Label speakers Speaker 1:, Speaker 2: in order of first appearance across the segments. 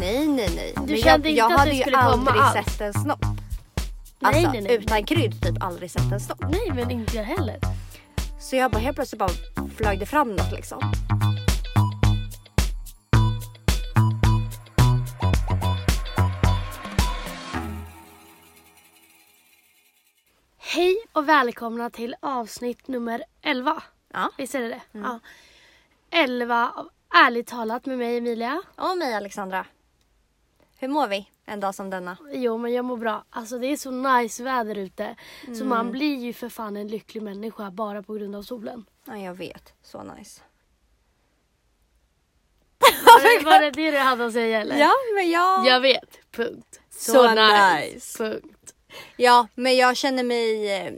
Speaker 1: Nej, nej, nej.
Speaker 2: Du
Speaker 1: men jag,
Speaker 2: kände inte
Speaker 1: jag
Speaker 2: att
Speaker 1: hade
Speaker 2: du
Speaker 1: ju
Speaker 2: skulle komma
Speaker 1: aldrig
Speaker 2: alls?
Speaker 1: sett en snopp.
Speaker 2: Nej,
Speaker 1: Alltså
Speaker 2: nej, nej.
Speaker 1: utan krydd typ aldrig sett en snopp.
Speaker 2: Nej men inte jag heller.
Speaker 1: Så jag bara helt plötsligt bara flög det fram något liksom.
Speaker 2: Hej och välkomna till avsnitt nummer 11.
Speaker 1: Ja.
Speaker 2: Visst är det det? Ja. 11 av Ärligt talat med mig Emilia.
Speaker 1: Och mig Alexandra. Hur mår vi en dag som denna?
Speaker 2: Jo men jag mår bra. Alltså det är så nice väder ute. Så man blir ju för fan en lycklig människa bara på grund av solen.
Speaker 1: Ja, jag vet. Så nice.
Speaker 2: Var det, var det det du hade att säga eller?
Speaker 1: Ja, men jag...
Speaker 2: Jag vet. Punkt. Så,
Speaker 1: Så
Speaker 2: nice.
Speaker 1: nice.
Speaker 2: Punkt.
Speaker 1: Ja, men jag känner mig eh,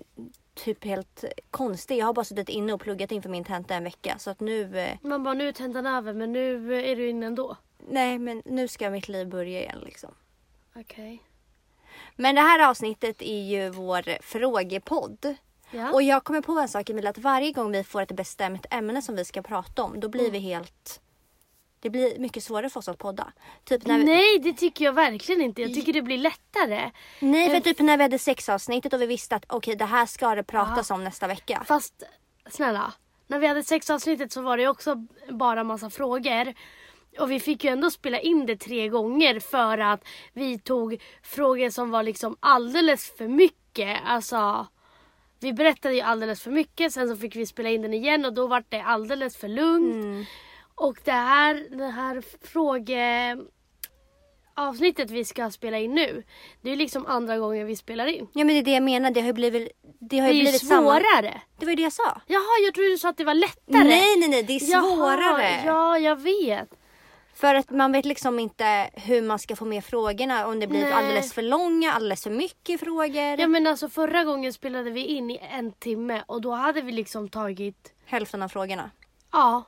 Speaker 1: typ helt konstig. Jag har bara suttit inne och pluggat inför min tenta en vecka. Så att nu... eh,
Speaker 2: Man bara nu är tentan över men nu är du inne ändå.
Speaker 1: Nej, men nu ska mitt liv börja igen liksom.
Speaker 2: Okej.
Speaker 1: Men det här avsnittet är ju vår frågepodd.
Speaker 2: Ja.
Speaker 1: Och jag kommer på en sak Emilia, att varje gång vi får ett bestämt ämne som vi ska prata om, då blir
Speaker 2: Mm.
Speaker 1: vi helt... Det blir mycket svårare för oss att podda. Typ när vi...
Speaker 2: Nej det tycker jag verkligen inte. Jag tycker det blir lättare.
Speaker 1: Nej, för typ när vi hade sexavsnittet och vi visste att okej, det här ska det pratas om nästa vecka.
Speaker 2: Fast snälla, när vi hade sexavsnittet så var det ju också bara massa frågor. Och vi fick ju ändå spela in det tre gånger för att vi tog frågor som var liksom alldeles för mycket. Alltså, vi berättade ju alldeles för mycket. Sen så fick vi spela in den igen och då var det alldeles för lugnt. Och det här, det här frågeavsnittet vi ska spela in nu. Det är ju liksom andra gången vi spelar in.
Speaker 1: Ja, men det är det jag menar. Det har ju blivit... Det har
Speaker 2: Det är
Speaker 1: ju
Speaker 2: ju
Speaker 1: blivit samma...
Speaker 2: svårare.
Speaker 1: Det var ju det jag sa.
Speaker 2: Jaha, jag trodde du sa att det var lättare.
Speaker 1: Nej, nej, nej. Det är
Speaker 2: Jaha,
Speaker 1: svårare.
Speaker 2: ja, jag vet.
Speaker 1: För att man vet liksom inte hur man ska få med frågorna. Om det blir
Speaker 2: Nej.
Speaker 1: alldeles för långa, alldeles för mycket frågor.
Speaker 2: Ja, men alltså, förra gången spelade vi in i en timme och då hade vi liksom tagit...
Speaker 1: Hälften av frågorna.
Speaker 2: Ja,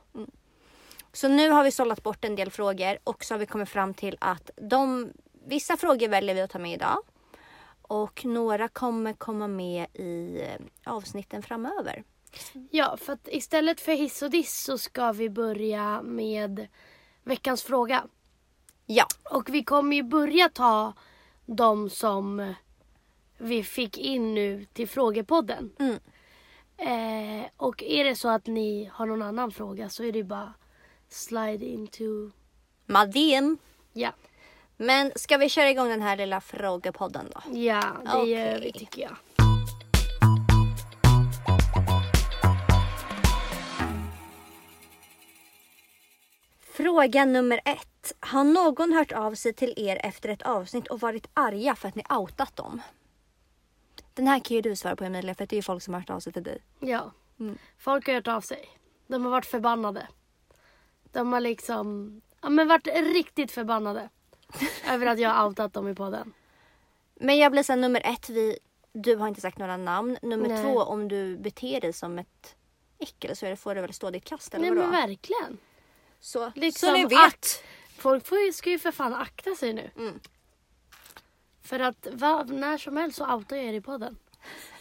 Speaker 1: Så nu har vi sållat bort en del frågor och så har vi kommit fram till att de, vissa frågor väljer vi att ta med idag. Och några kommer komma med i eh, avsnitten framöver.
Speaker 2: ja för att istället för hiss och diss så ska vi börja med veckans fråga.
Speaker 1: Ja,
Speaker 2: Och vi kommer ju börja ta de som vi fick in nu till frågepodden.
Speaker 1: Mm.
Speaker 2: Eh, och är det så att ni har någon annan fråga så är det ju bara slide into...
Speaker 1: Madin.
Speaker 2: Ja,
Speaker 1: Men ska vi köra igång den här lilla frågepodden då?
Speaker 2: ja det gör vi
Speaker 1: Okej.
Speaker 2: tycker jag.
Speaker 1: Fråga nummer ett. Har någon hört av sig till er efter ett avsnitt och varit arga för att ni outat dem? Den här kan ju du svara på Emilia för att det är ju folk som har hört av sig till dig.
Speaker 2: Ja.
Speaker 1: Mm.
Speaker 2: Folk har hört av sig. De har varit förbannade. De har liksom ja, men varit riktigt förbannade. över att jag har outat dem i podden.
Speaker 1: Men jag blir sen nummer ett, vi, du har inte sagt några namn. Nummer
Speaker 2: Nej.
Speaker 1: två, om du beter dig som ett äckel så är det- får det väl stå ditt kast eller
Speaker 2: Nej
Speaker 1: vadå?
Speaker 2: men verkligen.
Speaker 1: så,
Speaker 2: liksom
Speaker 1: så ni vet.
Speaker 2: att- Folk får ju, ska ju för fan akta sig nu.
Speaker 1: Mm.
Speaker 2: För att va, när som helst så outar jag er i podden.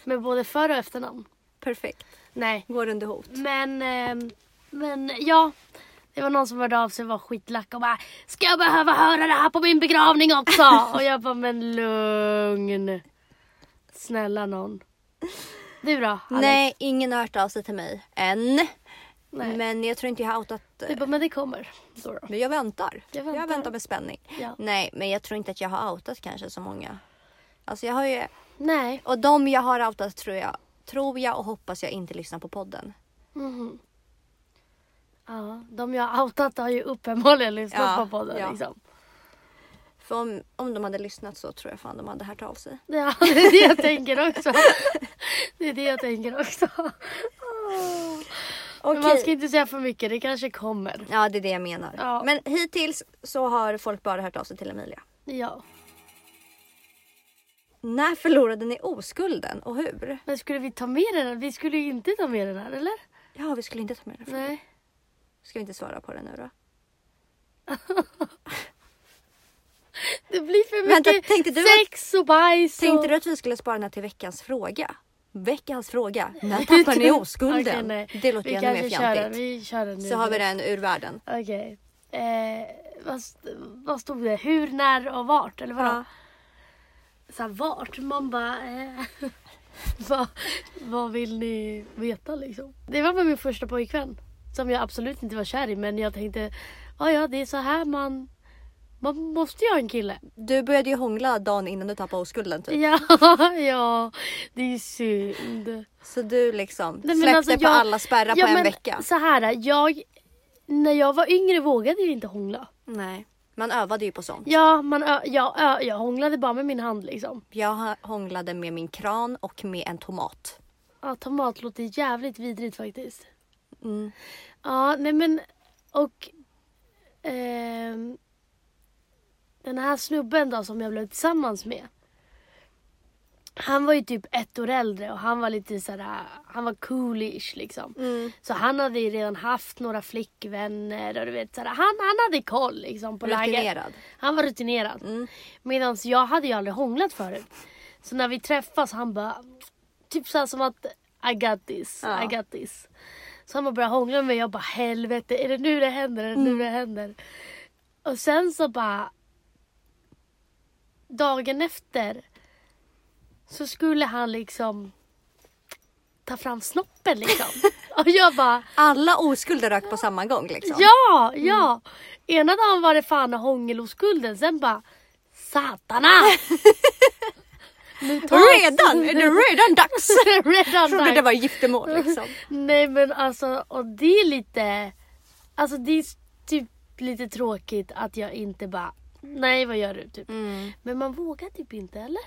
Speaker 2: Med både för och efternamn.
Speaker 1: Perfekt.
Speaker 2: Nej.
Speaker 1: Går under hot.
Speaker 2: Men, ehm, men ja. Det var någon som hörde av sig och var skitlack och bara Ska jag behöva höra det här på min begravning också? och jag bara men lugn. Snälla någon. Du då? Alex?
Speaker 1: Nej, ingen har hört av sig till mig än.
Speaker 2: Nej.
Speaker 1: Men jag tror inte jag har outat. eh,
Speaker 2: Du bara men det kommer. Så då.
Speaker 1: Men jag väntar.
Speaker 2: Jag väntar.
Speaker 1: med spänning.
Speaker 2: Ja.
Speaker 1: Nej, men jag tror inte att jag har outat kanske så många. Alltså jag har ju,
Speaker 2: Nej.
Speaker 1: och de jag har outat tror jag, tror jag och hoppas jag inte lyssnar på podden.
Speaker 2: Mhm. Ja, de jag har outat har ju uppenbarligen lyssnat
Speaker 1: Ja,
Speaker 2: på podden
Speaker 1: ja.
Speaker 2: liksom.
Speaker 1: För om, om de hade lyssnat så tror jag fan de hade hört av sig.
Speaker 2: Ja, det är det jag tänker också. Det är det jag tänker också. Men man
Speaker 1: Okej.
Speaker 2: ska inte säga för mycket, det kanske kommer.
Speaker 1: Ja, det är det jag menar.
Speaker 2: Ja.
Speaker 1: Men hittills så har folk bara hört av sig till Emilia.
Speaker 2: Ja.
Speaker 1: När förlorade ni oskulden och hur?
Speaker 2: Men skulle vi ta med den här? Vi skulle ju inte ta med den här, eller?
Speaker 1: Ja, vi skulle inte ta med den. frågan.
Speaker 2: Nej.
Speaker 1: Ska vi inte svara på den nu då?
Speaker 2: Det blir för
Speaker 1: Vänta,
Speaker 2: mycket
Speaker 1: tänkte du att-
Speaker 2: sex och bajs
Speaker 1: Tänkte
Speaker 2: och...
Speaker 1: du att vi skulle spara den här till veckans fråga? Veckans fråga. När tappar ni oskulden?
Speaker 2: Okej, nej.
Speaker 1: det låter
Speaker 2: vi
Speaker 1: ju ännu mer
Speaker 2: kanske kör den.
Speaker 1: fjantigt.
Speaker 2: Vi kör den nu.
Speaker 1: Så har vi den ur världen.
Speaker 2: Okej. Eh, vad, st- vad stod det? Hur, när och vart? Eller vadå?
Speaker 1: Ja.
Speaker 2: Så här, vart? Man bara... Eh, vad, vad vill ni veta liksom? Det var med min första pojkvän. Som jag absolut inte var kär i men jag tänkte, ja ja det är så här man... Man måste ju ha en kille.
Speaker 1: Du började ju hångla dagen innan du tappade oskulden typ.
Speaker 2: Ja, ja, det är synd.
Speaker 1: Så du liksom
Speaker 2: Nej, men
Speaker 1: släppte
Speaker 2: alltså,
Speaker 1: på
Speaker 2: jag-
Speaker 1: alla spärrar
Speaker 2: ja,
Speaker 1: på en
Speaker 2: men
Speaker 1: vecka.
Speaker 2: Så här, jag, när jag var yngre vågade jag inte hångla.
Speaker 1: Nej. Man övade ju på sånt.
Speaker 2: Ja, man, ö, jag, ö, jag hånglade bara med min hand liksom.
Speaker 1: Jag ha- hånglade med min kran och med en tomat.
Speaker 2: Ja, tomat låter jävligt vidrigt faktiskt.
Speaker 1: Mm.
Speaker 2: Ja, nej men och ehm, den här snubben då som jag blev tillsammans med. Han var ju typ ett år äldre och han var lite såhär, han var coolish liksom. Så han hade ju redan haft några flickvänner och du vet såhär, han, han hade koll liksom på läget.
Speaker 1: Rutinerad.
Speaker 2: Han var rutinerad. Mm. Medan jag hade ju aldrig hånglat förut. Så när vi träffas han bara, typ såhär som att I got this,
Speaker 1: Ja.
Speaker 2: I got this. Så han bara började hångla med mig jag bara helvete är det nu det händer, är det nu det händer? Och sen så bara dagen efter så skulle han liksom ta fram snoppen liksom. Och jag bara
Speaker 1: Alla oskulder rök på samma gång liksom.
Speaker 2: Ja, ja. Ena dagen var det fan hångeloskulden, sen bara satana! nu
Speaker 1: Redan! Är det redan dags?
Speaker 2: Redan
Speaker 1: Jag trodde
Speaker 2: dags.
Speaker 1: det var giftermål liksom.
Speaker 2: Nej men alltså, och det är lite, alltså det är typ lite tråkigt att jag inte bara, nej vad gör du? Typ.
Speaker 1: Mm.
Speaker 2: Men man vågar typ inte eller?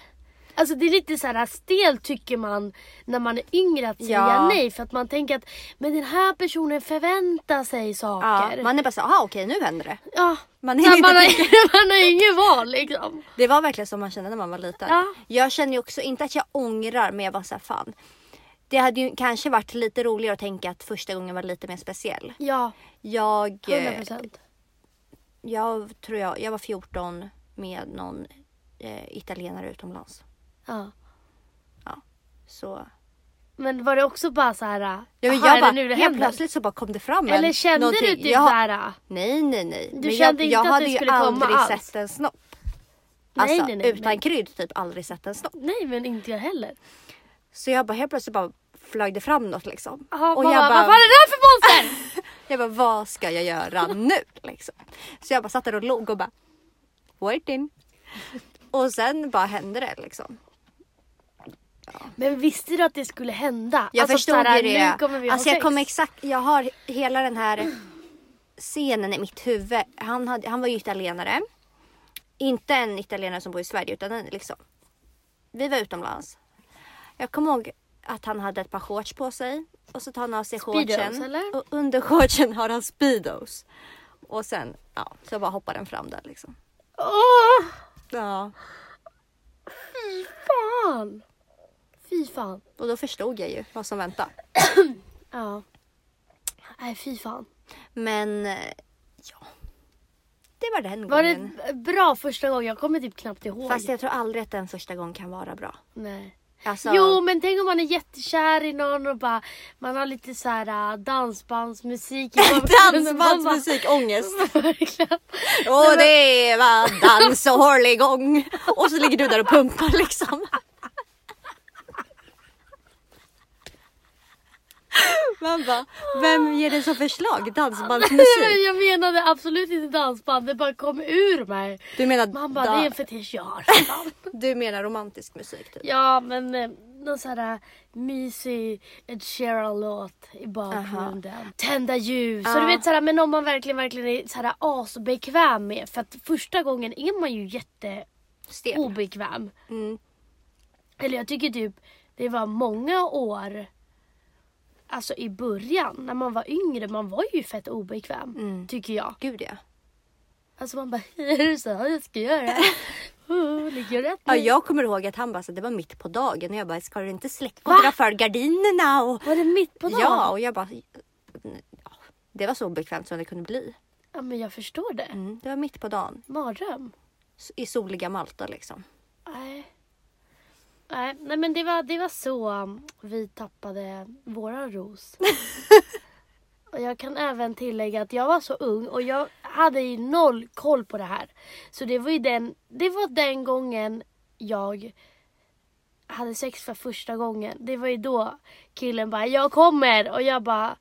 Speaker 2: Alltså det är lite så här stelt tycker man när man är yngre att säga
Speaker 1: Ja.
Speaker 2: nej för att man tänker att men den här personen förväntar sig
Speaker 1: Ja,
Speaker 2: saker.
Speaker 1: man är bara så, aha okej nu händer det.
Speaker 2: Ja,
Speaker 1: Man
Speaker 2: man,
Speaker 1: hinner
Speaker 2: man,
Speaker 1: inte
Speaker 2: har, man har ingen val liksom.
Speaker 1: Det var verkligen som man kände när man var liten.
Speaker 2: Ja.
Speaker 1: Jag känner ju också, inte att jag ångrar men jag var såhär fan. Det hade ju kanske varit lite roligare att tänka att första gången var lite mer speciell.
Speaker 2: Ja,
Speaker 1: Jag, eh,
Speaker 2: 100 procent.
Speaker 1: jag tror jag, jag var 14 med någon eh, italienare utomlands.
Speaker 2: Ja.
Speaker 1: Så
Speaker 2: Men var det också bara så här,
Speaker 1: Ja, men
Speaker 2: aha, är
Speaker 1: jag
Speaker 2: det
Speaker 1: bara,
Speaker 2: nu det
Speaker 1: helt
Speaker 2: händer?
Speaker 1: plötsligt så bara kom det fram en-
Speaker 2: Eller kände du
Speaker 1: någonting.
Speaker 2: typ
Speaker 1: jag,
Speaker 2: så här,
Speaker 1: Nej, nej, nej.
Speaker 2: Du
Speaker 1: men jag,
Speaker 2: kände inte
Speaker 1: jag
Speaker 2: att det
Speaker 1: hade ju
Speaker 2: skulle komma
Speaker 1: aldrig
Speaker 2: alls?
Speaker 1: sett en snopp.
Speaker 2: Nej,
Speaker 1: Alltså
Speaker 2: nej, nej,
Speaker 1: utan
Speaker 2: men-
Speaker 1: krydd typ aldrig sett en snopp.
Speaker 2: nej men inte jag heller.
Speaker 1: Så jag bara helt plötsligt bara flög det fram något liksom.
Speaker 2: Aha,
Speaker 1: och
Speaker 2: mamma,
Speaker 1: jag
Speaker 2: Vad fan
Speaker 1: bara,
Speaker 2: är det här för monster?
Speaker 1: jag bara, vad ska jag göra nu liksom? Så jag bara satt där och låg och bara, waiting. Och sen bara hände det liksom.
Speaker 2: men visste du att det skulle hända?
Speaker 1: Jag
Speaker 2: Alltså,
Speaker 1: förstod
Speaker 2: så här,
Speaker 1: ju det.
Speaker 2: Nu kommer vi
Speaker 1: alltså
Speaker 2: ha
Speaker 1: jag
Speaker 2: sex.
Speaker 1: kommer exakt, jag har hela den här scenen i mitt huvud. Han, hade, han var ju italienare. Inte en italienare som bor i Sverige utan en liksom. Vi var utomlands. Jag kommer ihåg att han hade ett par shorts på sig och så tar han av sig
Speaker 2: Speedos,
Speaker 1: shortsen
Speaker 2: eller?
Speaker 1: och under shortsen har han speedos. Och sen ja, så bara hoppar den fram där liksom.
Speaker 2: Åh,
Speaker 1: Ja,
Speaker 2: fan. Fy fan.
Speaker 1: och då förstod jag ju vad som väntade.
Speaker 2: Ja. Nej fy fan.
Speaker 1: Men eh, ja, det var den
Speaker 2: Var
Speaker 1: gången.
Speaker 2: det bra första gången? Jag kommer typ knappt ihåg.
Speaker 1: Fast jag tror aldrig att den första gången kan vara bra.
Speaker 2: Nej.
Speaker 1: Alltså,
Speaker 2: Jo men tänk om man är jättekär i någon och bara man har lite så här äh, dansbandsmusik i bakgrunden. Man bara-
Speaker 1: ångest.
Speaker 2: Verkligen.
Speaker 1: Och det var dans och hårligång. Och så ligger du där och pumpar liksom. Man bara, vem ger dig så förslag? Dansbandsmusik?
Speaker 2: Jag menade absolut inte dansband, det bara kom ur mig.
Speaker 1: Du menar,
Speaker 2: Man bara,
Speaker 1: da-
Speaker 2: det är en fetisch jag har.
Speaker 1: du menar romantisk musik? Typ.
Speaker 2: ja men eh, någon sån här mysig Ed Sheeran-låt i bakgrunden. Tända ljus. Och du vet så här, men om man verkligen, verkligen är så här asbekväm med. För att första gången är man ju jätte
Speaker 1: Stel.
Speaker 2: obekväm.
Speaker 1: Mm.
Speaker 2: Eller jag tycker typ det var många år Alltså i början när man var yngre, man var ju fett obekväm.
Speaker 1: Mm.
Speaker 2: Tycker jag.
Speaker 1: Gud ja.
Speaker 2: Alltså man bara, är det så här jag ska göra? Oh, ligger jag rätt
Speaker 1: ja.
Speaker 2: nu?
Speaker 1: Jag kommer ihåg att han bara, så det var mitt på dagen och jag bara, ska du inte släcka och dra för gardinerna? Och
Speaker 2: Var det mitt på dagen?
Speaker 1: Ja, och jag bara... ja, Det var så obekvämt som det kunde bli.
Speaker 2: ja men jag förstår det.
Speaker 1: Mm, det var mitt på dagen
Speaker 2: Mardröm.
Speaker 1: s- i soliga Malta liksom.
Speaker 2: Nej. Nej, nej men det var, det var så um, vi tappade våran ros. och jag kan även tillägga att jag var så ung och jag hade ju noll koll på det här. Så det var ju den, det var den gången jag hade sex för första gången. Det var ju då killen bara, jag kommer och jag bara,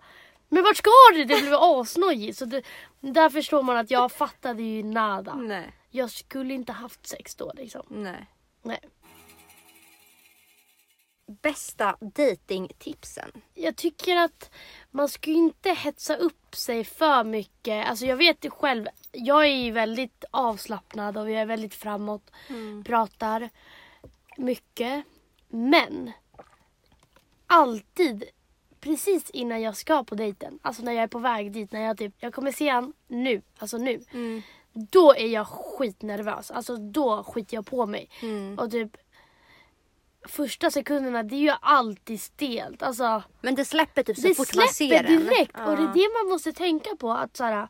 Speaker 2: men vart ska du? Det blev asnojig. Så det, där förstår man att jag fattade ju nada.
Speaker 1: Nej.
Speaker 2: Jag skulle inte haft sex då liksom.
Speaker 1: Nej.
Speaker 2: Nej.
Speaker 1: Bästa datingtipsen.
Speaker 2: Jag tycker att man ska ju inte hetsa upp sig för mycket. Alltså jag vet ju själv, jag är ju väldigt avslappnad och jag är väldigt framåt. Pratar mycket. Men alltid precis innan jag ska på dejten, alltså när jag är på väg dit, när jag typ, jag kommer se han nu, alltså nu. Då är jag skitnervös, alltså då skiter jag på mig. Och typ första sekunderna, det är ju alltid stelt. Alltså,
Speaker 1: Men det släpper typ så
Speaker 2: det
Speaker 1: fort man ser
Speaker 2: släpper
Speaker 1: den.
Speaker 2: direkt
Speaker 1: Ja.
Speaker 2: och det är det man måste tänka på att så här,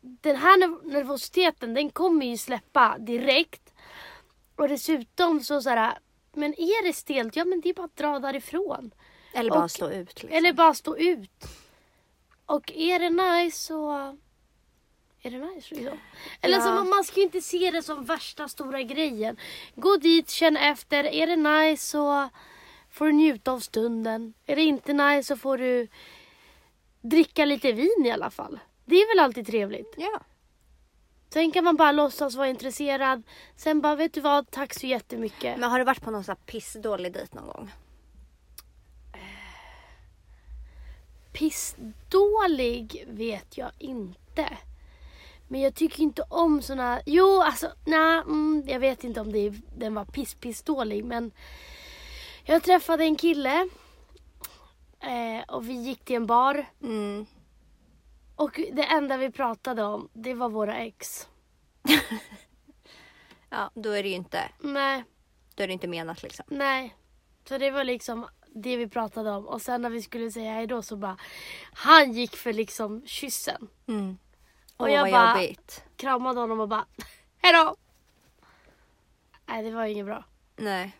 Speaker 2: den här nerv- nervositeten den kommer ju släppa direkt. Och dessutom så, så här, men är det stelt, ja men det är bara att dra därifrån.
Speaker 1: Eller bara
Speaker 2: och-
Speaker 1: stå ut. Liksom.
Speaker 2: Eller bara stå ut. Och är det nice så är det nice. Liksom. Eller
Speaker 1: Ja.
Speaker 2: så man, man ska ju inte se det som värsta stora grejen. Gå dit, känn efter. Är det nice så får du njuta av stunden. Är det inte nice så får du dricka lite vin i alla fall. Det är väl alltid trevligt.
Speaker 1: Ja.
Speaker 2: Sen kan man bara låtsas vara intresserad. Sen bara, vet du vad, tack så jättemycket.
Speaker 1: Men har du varit på någon sån här pissdålig dejt någon gång?
Speaker 2: pissdålig vet jag inte. Men jag tycker inte om såna... Jo, alltså nej, mm, jag vet inte om det, den var piss-pissdålig men jag träffade en kille eh, och vi gick till en bar
Speaker 1: Mm.
Speaker 2: och det enda vi pratade om det var våra ex.
Speaker 1: Ja, då är det ju inte,
Speaker 2: Nej,
Speaker 1: då är det inte menat liksom.
Speaker 2: nej. Så det var liksom det vi pratade om och sen när vi skulle säga hejdå så bara han gick för liksom kyssen.
Speaker 1: Mm.
Speaker 2: Och
Speaker 1: Åh,
Speaker 2: jag
Speaker 1: vad
Speaker 2: bara-
Speaker 1: jobbigt.
Speaker 2: kramade honom och bara hejdå. Nej det var inget bra.
Speaker 1: Nej.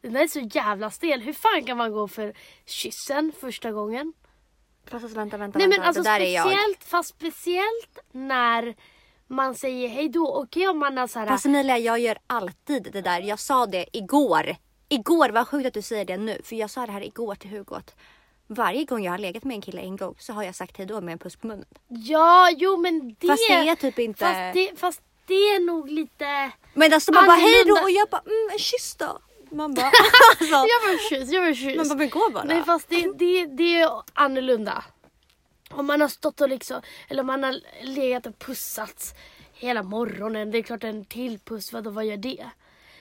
Speaker 2: Den där är så jävla stel. Hur fan kan man gå för kyssen första gången?
Speaker 1: Fast alltså, vänta, vänta,
Speaker 2: Nej men
Speaker 1: vänta.
Speaker 2: alltså
Speaker 1: det där är jag.
Speaker 2: speciellt, fast speciellt när man säger hejdå. Okej om man har så här.
Speaker 1: Fast Emilia, jag gör alltid det där. Jag sa det igår. Igår, vad sjukt att du säger det nu. För jag sa det här igår till Hugo. att Varje gång jag har legat med en kille en gång så har jag sagt hejdå med en puss på munnen.
Speaker 2: Ja jo men det.
Speaker 1: Fast det är typ inte...
Speaker 2: Fast det, fast det är nog lite.
Speaker 1: Men alltså man bara hej
Speaker 2: Annorlunda.
Speaker 1: då och jag bara mm, en kyss då. Man bara, alltså,
Speaker 2: Jag var kyss, jag var kyss.
Speaker 1: man bara men gå bara.
Speaker 2: Nej fast det, det, det är annorlunda. Om man har stått och liksom, eller om man har legat och pussats hela morgonen. Det är klart en till puss, vadå vad gör det?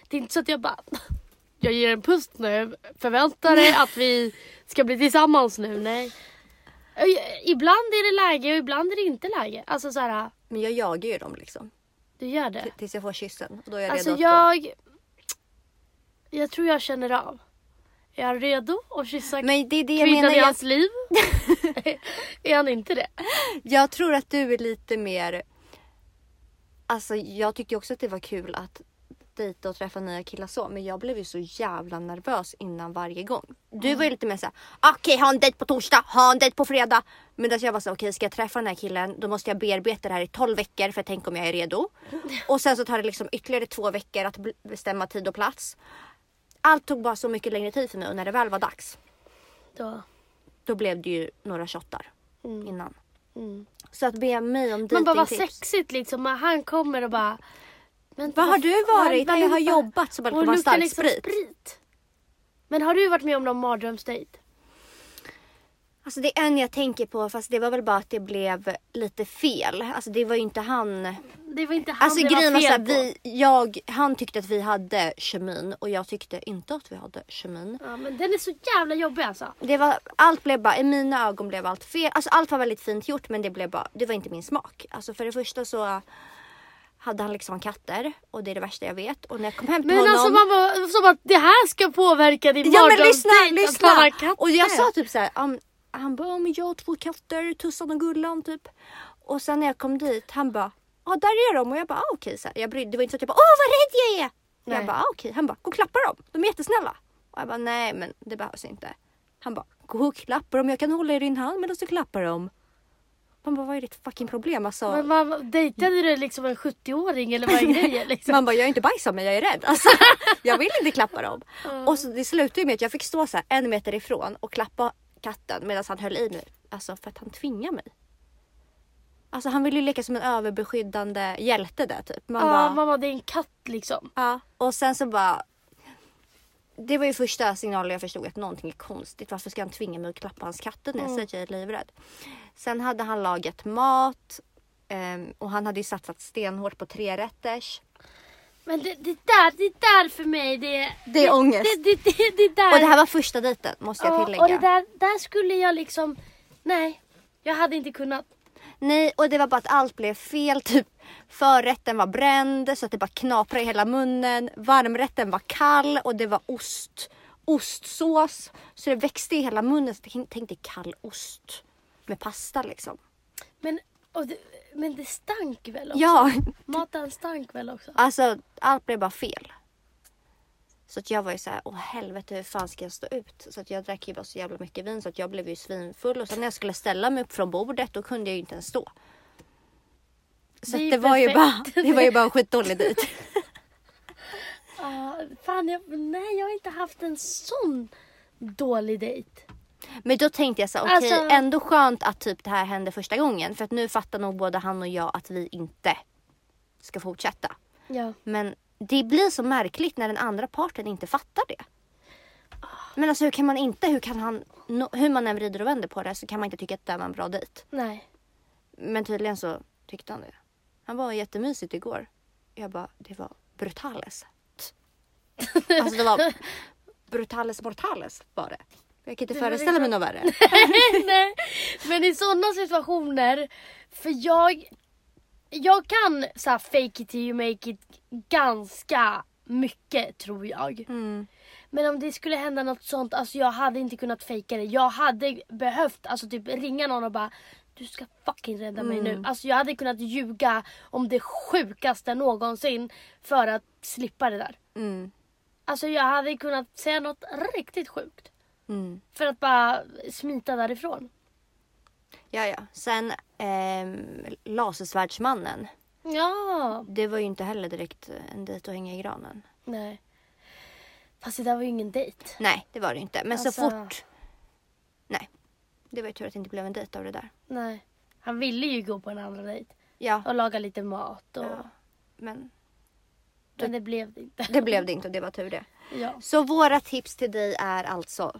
Speaker 2: Det är inte så att jag bara, jag ger en puss nu, förväntar dig att vi ska bli tillsammans nu, nej. I- Ibland är det läge och ibland är det inte läge. Alltså så här,
Speaker 1: Men jag jagar ju dem liksom.
Speaker 2: du gör det.
Speaker 1: Tills jag får kyssen. Och då är jag
Speaker 2: Alltså
Speaker 1: redo att
Speaker 2: jag, jag tror jag känner av. Är jag redo att kyssa
Speaker 1: gå. Men det är det jag
Speaker 2: kvinnan
Speaker 1: menar.
Speaker 2: i
Speaker 1: Jag,
Speaker 2: hans liv? är han inte det?
Speaker 1: jag tror att du är lite mer... Alltså jag tyckte ju också att det var kul att dejta och träffa nya killar så. Men jag blev ju så jävla nervös innan varje gång. Du var ju lite mer såhär, okej ha en dejt på torsdag, ha en dejt på fredag. Men alltså jag var så okej ska jag träffa den här killen då måste jag bearbeta det här i 12 veckor för att tänka om jag är redo. Och sen så tar det liksom ytterligare två veckor att bl- bestämma tid och plats. Allt tog bara så mycket längre tid för mig och när det väl var dags
Speaker 2: Då.
Speaker 1: då blev det ju några shottar
Speaker 2: Mm.
Speaker 1: innan.
Speaker 2: Mm.
Speaker 1: Så att be mig om
Speaker 2: Man bara vad
Speaker 1: datingtips.
Speaker 2: sexigt liksom. Man- Han kommer och bara. Men
Speaker 1: Vad har du varit?
Speaker 2: vad-
Speaker 1: Nej, jag har
Speaker 2: vad-
Speaker 1: jobbat så bara luktar
Speaker 2: och
Speaker 1: man
Speaker 2: luktar
Speaker 1: stark
Speaker 2: liksom
Speaker 1: sprit.
Speaker 2: Men har du varit med om någon mardrömsdejt?
Speaker 1: Alltså det är en jag tänker på fast det var väl bara att det blev lite fel. Alltså det var ju inte han.
Speaker 2: Det var inte han
Speaker 1: alltså
Speaker 2: det
Speaker 1: grejen var
Speaker 2: var
Speaker 1: såhär,
Speaker 2: fel på.
Speaker 1: vi, jag, han tyckte att vi hade kemin och jag tyckte inte att vi hade kemin.
Speaker 2: Ja, men den är så jävla jobbig alltså.
Speaker 1: Det var, allt blev bara, i mina ögon blev allt fel. Alltså allt var väldigt fint gjort men det blev bara, det var inte min smak. Alltså för det första så hade han liksom katter och det är det värsta jag vet. Och när jag kom hem till
Speaker 2: Men
Speaker 1: honom.
Speaker 2: alltså man bara, som att det här ska påverka din
Speaker 1: Ja men
Speaker 2: mardrömsdejt.
Speaker 1: lyssna,
Speaker 2: att man har
Speaker 1: lyssna!
Speaker 2: katter.
Speaker 1: Och jag sa typ såhär, um, han bara, om jag har två katter, Tussan och Gullan typ. Och sen när jag kom dit, han bara, ja ah, där är de och jag bara, ah, okej. så här. Jag brydde, det var inte så att jag bara, åh vad rädd jag är! Och Jag
Speaker 2: Nej.
Speaker 1: bara, ah, okej. Han bara, gå och klappa dem, de är jättesnälla. Och jag bara, nej men det behövs inte. Han bara, gå och klappa dem, jag kan hålla i din hand medan du klappar dem. Man bara, vad är ditt fucking problem? Alltså,
Speaker 2: Men man, dejtade du liksom en 70-åring eller vad är grejen? Liksom?
Speaker 1: Man bara, jag är inte bajs av mig, jag är rädd. Alltså, jag vill inte klappa dem. Och så, det slutade ju med att jag fick stå så här en meter ifrån och klappa katten medan han höll i mig. Alltså för att han tvingade mig. Alltså han ville ju leka som en överbeskyddande hjälte där typ. Man
Speaker 2: Ja,
Speaker 1: bara,
Speaker 2: mamma det är en katt liksom.
Speaker 1: ja. Och sen så bara. Det var ju första signalen jag förstod att någonting är konstigt. Varför ska han tvinga mig att klappa hans katter när jag säger att jag är livrädd? Sen hade han lagat mat ehm, och han hade ju satsat stenhårt på trerätters.
Speaker 2: Men det, det där, det där för mig det...
Speaker 1: Det är ångest.
Speaker 2: Det, det, det, det där.
Speaker 1: Och det här var första dejten måste jag
Speaker 2: Ja,
Speaker 1: tillägga.
Speaker 2: Och det där, där skulle jag liksom... Nej, jag hade inte kunnat.
Speaker 1: Nej, och det var bara att allt blev fel. Typ förrätten var bränd så att det bara knaprade i hela munnen. Varmrätten var kall och det var ost. Ostsås. Så det växte i hela munnen. Så jag tänkte kall ost med pasta liksom.
Speaker 2: Men, och det, men det stank väl också?
Speaker 1: Ja,
Speaker 2: Maten stank väl också?
Speaker 1: alltså allt blev bara fel. Så att jag var ju så här, åh helvete hur fan ska jag stå ut? Så att jag drack ju bara så jävla mycket vin så att jag blev ju svinfull och sen när jag skulle ställa mig upp från bordet då kunde jag ju inte ens stå. Så
Speaker 2: Det är
Speaker 1: det,
Speaker 2: ju
Speaker 1: det, var, ju bara,
Speaker 2: perfekt.
Speaker 1: det var ju bara en skitdålig dejt.
Speaker 2: Ja, fan, jag, nej jag har inte haft en sån dålig dejt.
Speaker 1: Men då tänkte jag så här, okej
Speaker 2: Alltså-
Speaker 1: ändå skönt att typ det här hände första gången för att nu fattar nog både han och jag att vi inte ska fortsätta.
Speaker 2: Ja.
Speaker 1: Men det blir så märkligt när den andra parten inte fattar det. Men alltså hur kan man inte, hur kan han, nå- hur man än vrider och vänder på det så kan man inte tycka att det här var en bra dejt.
Speaker 2: Nej.
Speaker 1: Men tydligen så tyckte han det. Han var jättemysigt igår. Jag bara, det var brutales. Alltså det var brutales mortales var det. Jag kan inte
Speaker 2: Det var liksom-
Speaker 1: föreställa mig något värre.
Speaker 2: nej. Men i sådana situationer, för jag, jag kan så här, fake it till you make it ganska mycket tror jag.
Speaker 1: Mm.
Speaker 2: Men om det skulle hända något sånt, alltså jag hade inte kunnat fejka det. Jag hade behövt alltså typ ringa någon och bara du ska fucking rädda mig nu. Alltså jag hade kunnat ljuga om det sjukaste någonsin för att slippa det där.
Speaker 1: Mm.
Speaker 2: Alltså jag hade kunnat säga något riktigt sjukt
Speaker 1: Mm.
Speaker 2: för att bara smita därifrån.
Speaker 1: Ja, ja. Sen ehm, lasersvärdsmannen.
Speaker 2: Ja.
Speaker 1: Det var ju inte heller direkt en dejt att hänga i granen.
Speaker 2: Nej. Fast det där var ju ingen dejt.
Speaker 1: Nej, det var det inte. Men
Speaker 2: Alltså-
Speaker 1: så fort... Nej. Det var ju tur att det inte blev en dejt av det där.
Speaker 2: Nej. Han ville ju gå på en andra dejt
Speaker 1: Ja,
Speaker 2: och laga lite mat och...
Speaker 1: Ja. men
Speaker 2: Men det blev det inte.
Speaker 1: det blev det inte och det var tur det.
Speaker 2: Ja.
Speaker 1: Så våra tips till dig är alltså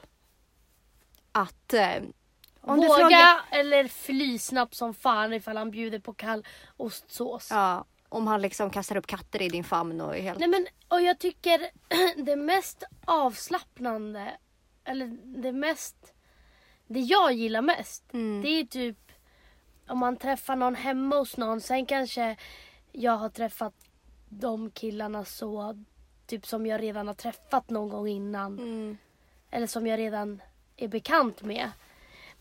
Speaker 1: att... Eh, om du
Speaker 2: Våga
Speaker 1: frågar...
Speaker 2: eller fly snabbt som fan ifall han bjuder på kall ostsås.
Speaker 1: Ja, om han liksom kastar upp katter i din famn och är helt...
Speaker 2: Nej men, och jag tycker det mest avslappnande, eller det mest, det jag gillar mest,
Speaker 1: Mm.
Speaker 2: det är typ om man träffar någon hemma hos någon. Sen kanske jag har träffat de killarna så, typ som jag redan har träffat någon gång innan.
Speaker 1: Mm.
Speaker 2: Eller som jag redan är bekant med.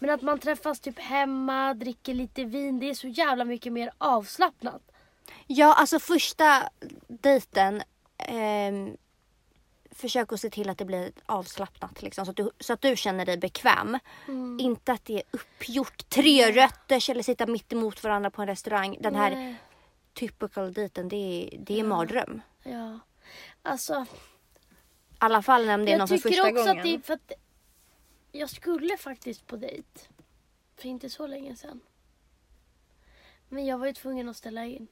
Speaker 2: Men att man träffas typ hemma, dricker lite vin, det är så jävla mycket mer avslappnat.
Speaker 1: Ja, alltså första dejten. ehm, försök att se till att det blir avslappnat liksom, så, att du, så att du känner dig bekväm.
Speaker 2: Mm.
Speaker 1: Inte att det är uppgjort, tre rötter eller sitta mitt emot varandra på en restaurang. Den här
Speaker 2: Nej.
Speaker 1: typical dejten, det är, det är mardröm.
Speaker 2: Ja. Alltså,
Speaker 1: I alla fall när det är någon
Speaker 2: jag
Speaker 1: för
Speaker 2: tycker
Speaker 1: första
Speaker 2: också
Speaker 1: gången.
Speaker 2: att det är för att jag skulle faktiskt på dejt. För inte så länge sedan. Men jag var ju tvungen att ställa in.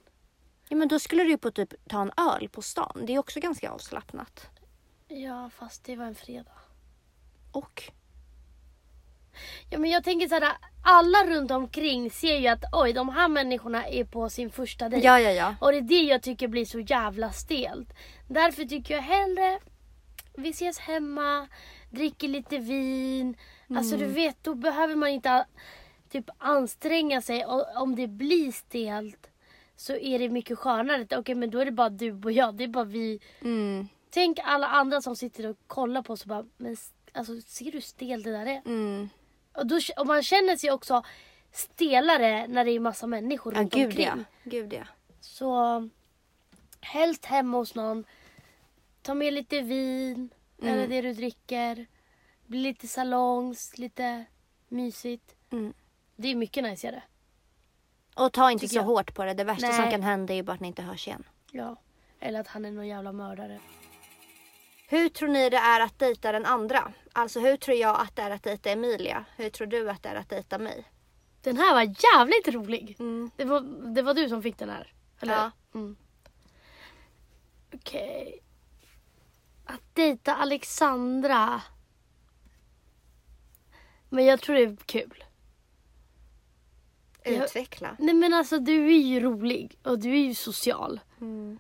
Speaker 1: ja, men då skulle du ju på typ ta en öl på stan. Det är också ganska avslappnat.
Speaker 2: Ja, fast det var en fredag.
Speaker 1: Och?
Speaker 2: Ja, men jag tänker så här, alla runt omkring ser ju att oj, de här människorna är på sin första dejt.
Speaker 1: Ja, ja, ja.
Speaker 2: Och det är det jag tycker blir så jävla stelt. Därför tycker jag hellre vi ses hemma, dricker lite vin. Alltså
Speaker 1: Mm.
Speaker 2: du vet, då behöver man inte a- typ anstränga sig. Och om det blir stelt så är det mycket skönare. Okej, men då är det bara du och jag. Det är bara vi.
Speaker 1: Mm,
Speaker 2: Tänk alla andra som sitter och kollar på oss och bara, men s- alltså ser du hur stel det där är?
Speaker 1: mm.
Speaker 2: Och, då, k- och man känner sig också stelare när det är massa människor
Speaker 1: Ja,
Speaker 2: runt
Speaker 1: gud
Speaker 2: omkring.
Speaker 1: ja. Gud ja.
Speaker 2: Så helst hemma hos någon. Ta med lite vin
Speaker 1: Mm.
Speaker 2: eller det du dricker. Bli lite salongs, lite mysigt.
Speaker 1: Mm.
Speaker 2: Det är mycket najsigare.
Speaker 1: Och ta inte
Speaker 2: Tycker
Speaker 1: så
Speaker 2: jag.
Speaker 1: hårt på det. Det värsta
Speaker 2: Nej.
Speaker 1: som kan hända är ju bara att ni inte hörs igen.
Speaker 2: Ja. Eller att han är någon jävla mördare.
Speaker 1: Hur tror ni det är att dejta den andra? Alltså hur tror jag att det är att dejta Emilia? Hur tror du att det är att dejta mig?
Speaker 2: Den här var jävligt rolig.
Speaker 1: Mm.
Speaker 2: Det, var, det var du som fick den här. Eller?
Speaker 1: Ja.
Speaker 2: Mm. Okej. Att dejta Alexandra. Men jag tror det är kul. Jag-
Speaker 1: Utveckla.
Speaker 2: Nej men alltså du är ju rolig och du är ju social.
Speaker 1: Mm.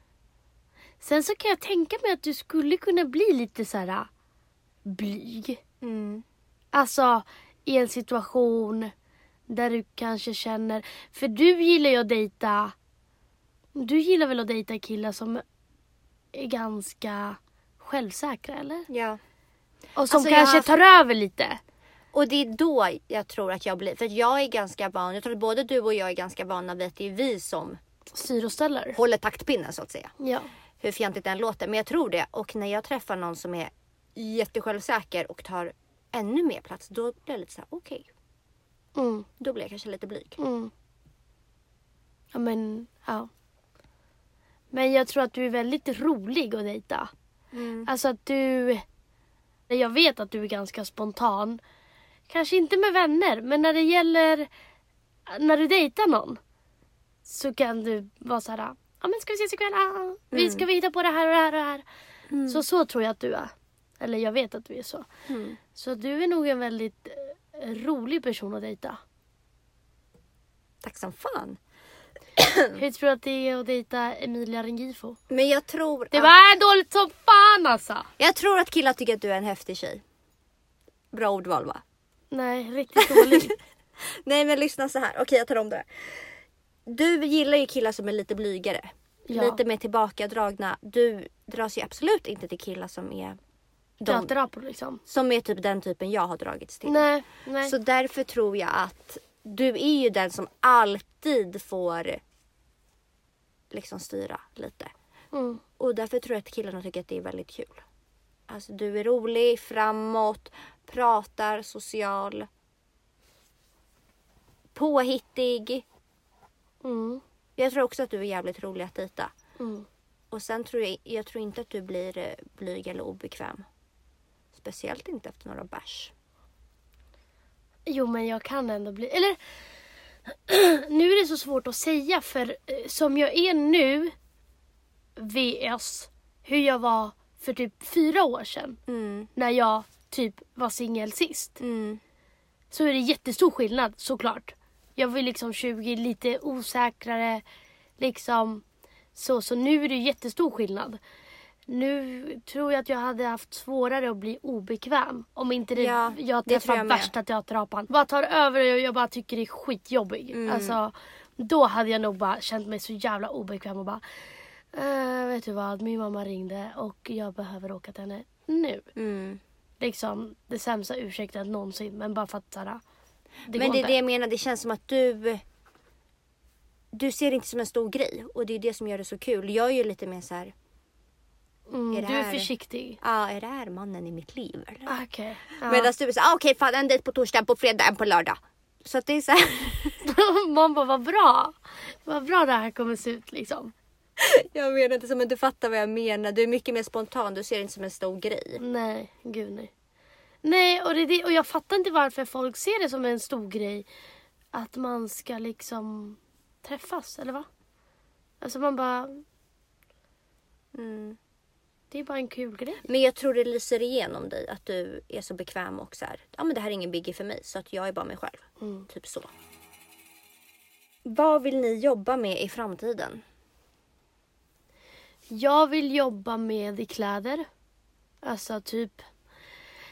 Speaker 2: Sen så kan jag tänka mig att du skulle kunna bli lite så här äh, blyg.
Speaker 1: Mm.
Speaker 2: Alltså i en situation där du kanske känner... För du gillar ju att dejta... Du gillar väl att dejta killar som är ganska självsäkra eller?
Speaker 1: Ja.
Speaker 2: Och
Speaker 1: Alltså,
Speaker 2: som
Speaker 1: jag har
Speaker 2: kanske
Speaker 1: haft-
Speaker 2: tar över lite.
Speaker 1: Och det är då jag tror att jag blir, för att jag är ganska van, jag tror att både du och jag är ganska vana vid att det är vi som
Speaker 2: Styr och ställer.
Speaker 1: håller taktpinnen så att säga.
Speaker 2: Ja.
Speaker 1: Hur fjantigt den låter, men jag tror det. Och när jag träffar någon som är jättesjälvsäker och tar ännu mer plats, då blir jag lite såhär, okej.
Speaker 2: Mm,
Speaker 1: Då blir jag kanske lite blyg.
Speaker 2: mm. Ja men, ja. Men jag tror att du är väldigt rolig att dejta. Alltså att du... Jag vet att du är ganska spontan. Kanske inte med vänner, men när det gäller... När du dejtar någon så kan du vara så här... Ja, men ska vi ses ikväll? Ah, Vi ska vi hitta på det här och det här och det här. Så så tror jag att du är. Eller jag vet att du är så.
Speaker 1: Mm.
Speaker 2: Så du är nog en väldigt eh, rolig person att dejta.
Speaker 1: Tack som fan.
Speaker 2: Hur tror du att det är att dejta Emilia Rengifo?
Speaker 1: Men jag tror,
Speaker 2: Det
Speaker 1: att,
Speaker 2: var dåligt som fan alltså!
Speaker 1: jag tror att killar tycker att du är en häftig tjej. Bra ordval va?
Speaker 2: Nej, riktigt dåligt.
Speaker 1: Nej men lyssna så här. Okej jag tar om det. här. Du gillar ju killar som är lite blygare.
Speaker 2: Ja.
Speaker 1: Lite mer tillbakadragna. Du dras ju absolut inte till killar som är de,
Speaker 2: Dötrapor liksom.
Speaker 1: som är typ den typen jag har dragits till.
Speaker 2: Nej, nej.
Speaker 1: Så därför tror jag att du är ju den som alltid får liksom styra lite.
Speaker 2: Mm.
Speaker 1: Och därför tror jag att killarna tycker att det är väldigt kul. Alltså du är rolig, framåt, pratar, social. Påhittig.
Speaker 2: Mm.
Speaker 1: Jag tror också att du är jävligt rolig att dejta.
Speaker 2: Mm.
Speaker 1: Och sen tror jag, jag tror inte att du blir eh, blyg eller obekväm. Speciellt inte efter några bärs.
Speaker 2: Jo, men jag kan ändå bli... Eller, nu är det så svårt att säga för eh, som jag är nu vs hur jag var för typ fyra år sedan
Speaker 1: Mm,
Speaker 2: när jag typ var singel sist.
Speaker 1: mm,
Speaker 2: Så är det jättestor skillnad såklart. Jag var ju liksom 20, lite osäkrare liksom. Så, så nu är det ju jättestor skillnad. Nu tror jag att jag hade haft svårare att bli obekväm. Om inte det,
Speaker 1: Ja,
Speaker 2: jag
Speaker 1: det tror
Speaker 2: träffar
Speaker 1: jag med.
Speaker 2: värsta teaterapan. Bara tar över och jag bara tycker det är skitjobbig.
Speaker 1: Mm.
Speaker 2: Alltså, då hade jag nog bara känt mig så jävla obekväm och bara eh, Vet du vad, min mamma ringde och jag behöver åka till henne nu
Speaker 1: mm.
Speaker 2: liksom det sämsta ursäkten någonsin. Men bara för att såhär, det
Speaker 1: Men
Speaker 2: går
Speaker 1: det är
Speaker 2: inte.
Speaker 1: det jag menar, det känns som att du... Du ser det inte som en stor grej och det är det som gör det så kul. Jag är ju lite mer så här,
Speaker 2: mm,
Speaker 1: är det
Speaker 2: du är
Speaker 1: här-
Speaker 2: försiktig.
Speaker 1: ah, är det här mannen i mitt liv eller?
Speaker 2: Ah, Okej. Ja.
Speaker 1: Medan du är såhär, ah, okej fan en dejt på torsdag, en på fredag, en på lördag. Så att det är såhär,
Speaker 2: Man bara, vad bra. Vad bra det här kommer se ut liksom.
Speaker 1: jag menar inte så men du fattar vad jag menar. Du är mycket mer spontan, du ser det inte som en stor grej.
Speaker 2: Nej, gud nej. Nej, och, det, är det, och jag fattar inte varför folk ser det som en stor grej. Att man ska liksom träffas, eller va? Alltså man bara,
Speaker 1: Mm.
Speaker 2: det är bara en kul grej.
Speaker 1: Men jag tror det lyser igenom dig att du är så bekväm och såhär, ja men det här är ingen biggie för mig så att jag är bara mig själv. Typ så. Vad vill ni jobba med i framtiden?
Speaker 2: Jag vill jobba med kläder. Alltså typ...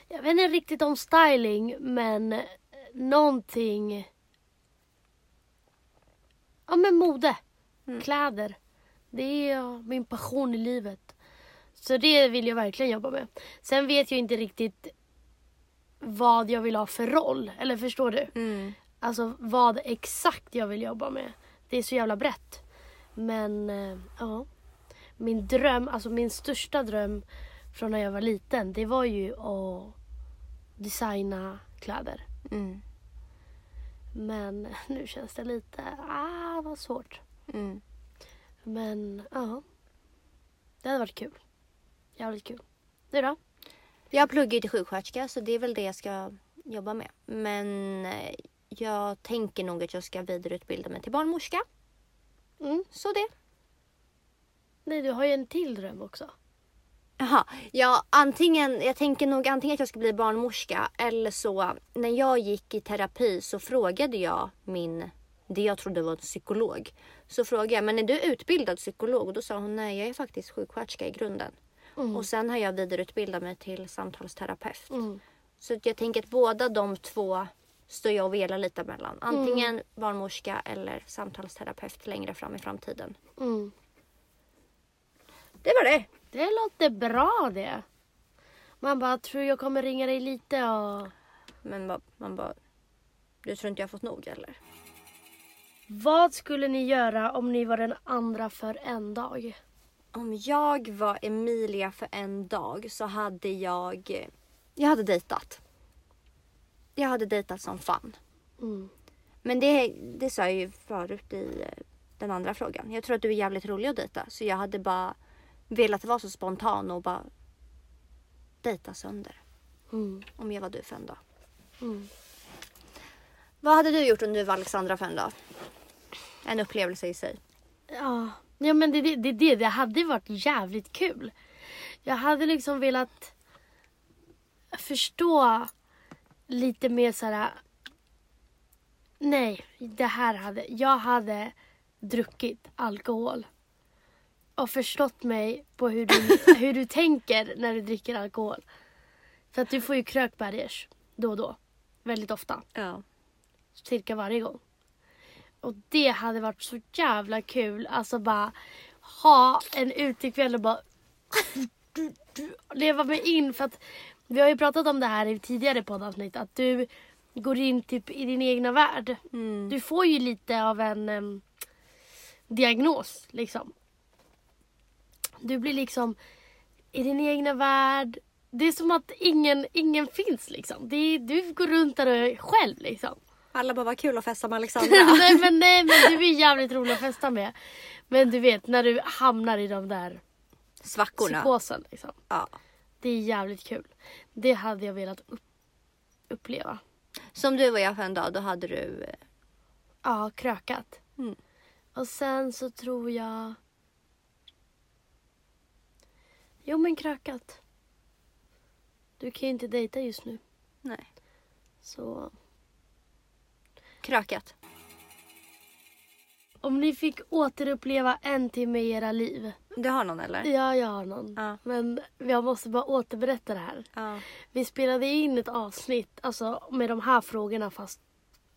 Speaker 2: Jag vet inte riktigt om styling, men eh, någonting... Ja, men mode. Kläder. Det är ja, min passion i livet. Så det vill jag verkligen jobba med. Sen vet jag inte riktigt vad jag vill ha för roll. Eller förstår du?
Speaker 1: Mm.
Speaker 2: Alltså vad exakt jag vill jobba med. Det är så jävla brett. Men eh, ja. Min dröm, alltså min största dröm från när jag var liten, det var ju att designa kläder.
Speaker 1: Mm.
Speaker 2: Men nu känns det lite, ah vad svårt.
Speaker 1: Mm.
Speaker 2: Men ja. Det hade varit kul. Jävligt kul. Du då?
Speaker 1: Jag pluggar ju till sjuksköterska så det är väl det jag ska jobba med. Men eh, jag tänker nog att jag ska vidareutbilda mig till barnmorska.
Speaker 2: Mm.
Speaker 1: Så det.
Speaker 2: Nej, du har ju en till dröm också.
Speaker 1: Jaha, ja antingen, jag tänker nog antingen att jag ska bli barnmorska eller så när jag gick i terapi så frågade jag min, det jag trodde var en psykolog. Så frågade jag, men är du utbildad psykolog? Och då sa hon, nej jag är faktiskt sjuksköterska i grunden. Och sen har jag vidareutbildat mig till samtalsterapeut.
Speaker 2: Mm.
Speaker 1: Så att jag tänker att båda de två står jag och velar lite mellan. Antingen barnmorska eller samtalsterapeut längre fram i framtiden.
Speaker 2: Mm.
Speaker 1: Det var det.
Speaker 2: Det låter bra det. Man bara, tror jag kommer ringa dig lite och...
Speaker 1: Men ba- man bara, du tror inte jag har fått nog eller?
Speaker 2: Vad skulle ni göra om ni var den andra för en dag?
Speaker 1: Om jag var Emilia för en dag så hade jag... Jag hade dejtat. Jag hade dejtat som fan.
Speaker 2: Mm.
Speaker 1: Men det, det sa jag ju förut i eh, den andra frågan. Jag tror att du är jävligt rolig att dejta. Så jag hade bara velat vara så spontan och bara dejta sönder.
Speaker 2: Mm.
Speaker 1: Om jag var du för en dag.
Speaker 2: Mm.
Speaker 1: Vad hade du gjort om du var Alexandra för en dag? En upplevelse i sig.
Speaker 2: Ja, ja men det, det, det, det, det hade ju varit jävligt kul. Jag hade liksom velat förstå lite mer så här. Nej, det här hade... Jag hade druckit alkohol och förstått mig på hur du, hur du tänker när du dricker alkohol. För att du får ju krökbergers då och då. Väldigt ofta
Speaker 1: Ja.
Speaker 2: cirka varje gång. Och det hade varit så jävla kul. Alltså bara ha en utekväll och bara leva mig in. För att vi har ju pratat om det här i tidigare poddavsnitt. Att du går in typ i din egna värld.
Speaker 1: Mm.
Speaker 2: Du får ju lite av en em, diagnos liksom. Du blir liksom i din egna värld. Det är som att ingen, ingen finns liksom. Det är, du går runt där själv liksom.
Speaker 1: Alla bara, vad kul att festa med Alexandra.
Speaker 2: nej, men, nej men du är jävligt rolig att festa med. Men du vet när du hamnar i de där
Speaker 1: Svackorna.
Speaker 2: psykosen. Liksom.
Speaker 1: Ja.
Speaker 2: Det är jävligt kul. Det hade jag velat upp- uppleva.
Speaker 1: Som du och jag för en dag, då hade du... eh,
Speaker 2: Ja, krökat.
Speaker 1: Mm.
Speaker 2: Och sen så tror jag... Jo men krökat. Du kan ju inte dejta just nu.
Speaker 1: Nej.
Speaker 2: Så
Speaker 1: Krökat.
Speaker 2: om ni fick återuppleva en timme i era liv.
Speaker 1: Du har någon eller?
Speaker 2: Ja, jag har någon.
Speaker 1: Ja.
Speaker 2: Men jag måste bara återberätta det här.
Speaker 1: Ja.
Speaker 2: Vi spelade in ett avsnitt alltså, med de här frågorna fast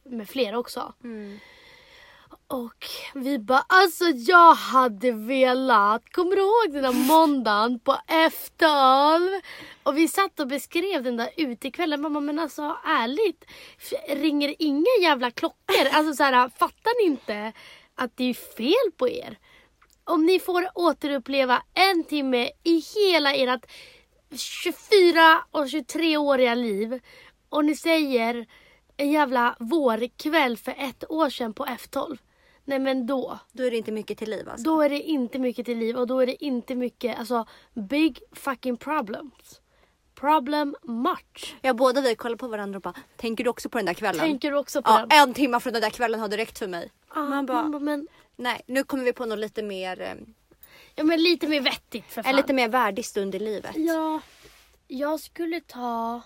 Speaker 2: med flera också.
Speaker 1: Mm.
Speaker 2: Och vi bara alltså jag hade velat, kommer du ihåg den där måndagen på F12? Och vi satt och beskrev den där utekvällen. Mamma men alltså ärligt, f- ringer inga jävla klockor? Alltså så här, fattar ni inte att det är fel på er? Om ni får återuppleva en timme i hela ert 24 och 23-åriga liv och ni säger en jävla vårkväll för ett år sedan på F12. Nej men då,
Speaker 1: Då är det inte mycket till liv alltså.
Speaker 2: då är det inte mycket till liv och då är det inte mycket, alltså big fucking problems. Problem much.
Speaker 1: Ja, båda vi kollar på varandra och bara, tänker du också på den där kvällen?
Speaker 2: Tänker du också på
Speaker 1: ja,
Speaker 2: den?
Speaker 1: en timme från den där kvällen har du räckt för mig.
Speaker 2: Ja,
Speaker 1: man bara-
Speaker 2: men,
Speaker 1: Nej, nu kommer vi på något lite mer, eh,
Speaker 2: ja, men lite mer vettigt för fan.
Speaker 1: en lite mer värdig stund i livet.
Speaker 2: Ja, jag skulle ta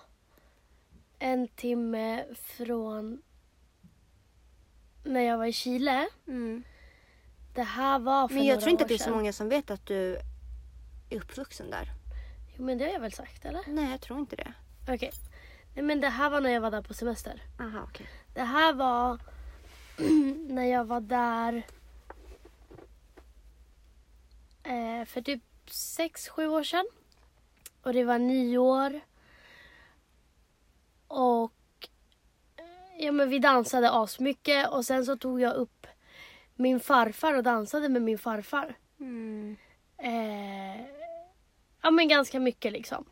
Speaker 2: en timme från när jag var i Chile.
Speaker 1: Mm.
Speaker 2: Det här var för
Speaker 1: Men jag
Speaker 2: några
Speaker 1: tror inte
Speaker 2: år
Speaker 1: att det är så
Speaker 2: sedan.
Speaker 1: många som vet att du är uppvuxen där.
Speaker 2: Jo, men det har jag väl sagt eller?
Speaker 1: Nej, jag tror inte det.
Speaker 2: Okej. Nej men det här var när jag var där på semester.
Speaker 1: Aha, okej.
Speaker 2: Det här var när jag var där eh, för typ sex sju år sedan. Och det var nyår. Och eh, ja, men vi dansade asmycket och sen så tog jag upp min farfar och dansade med min farfar.
Speaker 1: Mm.
Speaker 2: Eh, ja men ganska mycket liksom.